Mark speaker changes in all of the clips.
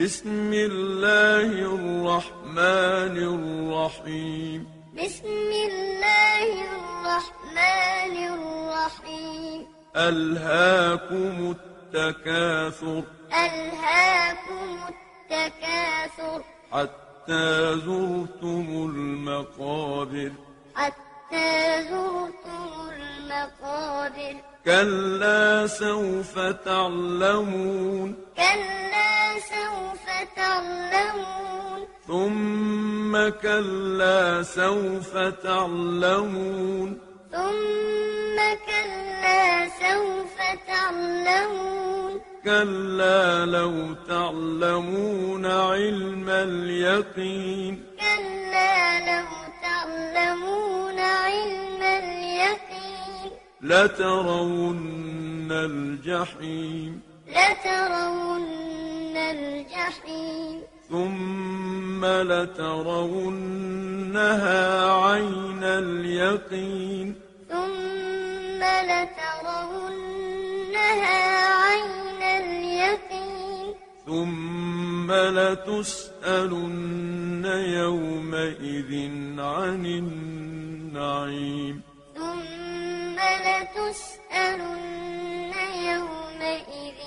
Speaker 1: بسم الله الرحمن الرحيم
Speaker 2: بسم الله الرحمن الرحيم
Speaker 1: ألهاكم التكاثر
Speaker 2: ألهاكم التكاثر
Speaker 1: حتى زرتم المقابر
Speaker 2: حتى زرتم المقابر
Speaker 1: كلا سوف تعلمون
Speaker 2: كلا سوف تعلمون
Speaker 1: ثم كلا سوف تعلمون
Speaker 2: ثم كلا سوف تعلمون
Speaker 1: كلا لو تعلمون علم اليقين
Speaker 2: كلا لو تعلمون علم اليقين
Speaker 1: لترون الجحيم
Speaker 2: لترون الجحيم
Speaker 1: ثم لترونها عين اليقين
Speaker 2: ثم لترونها عين اليقين
Speaker 1: ثم لتسألن يومئذ عن النعيم
Speaker 2: ثم لتسألن يومئذ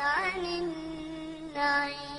Speaker 2: عن النعيم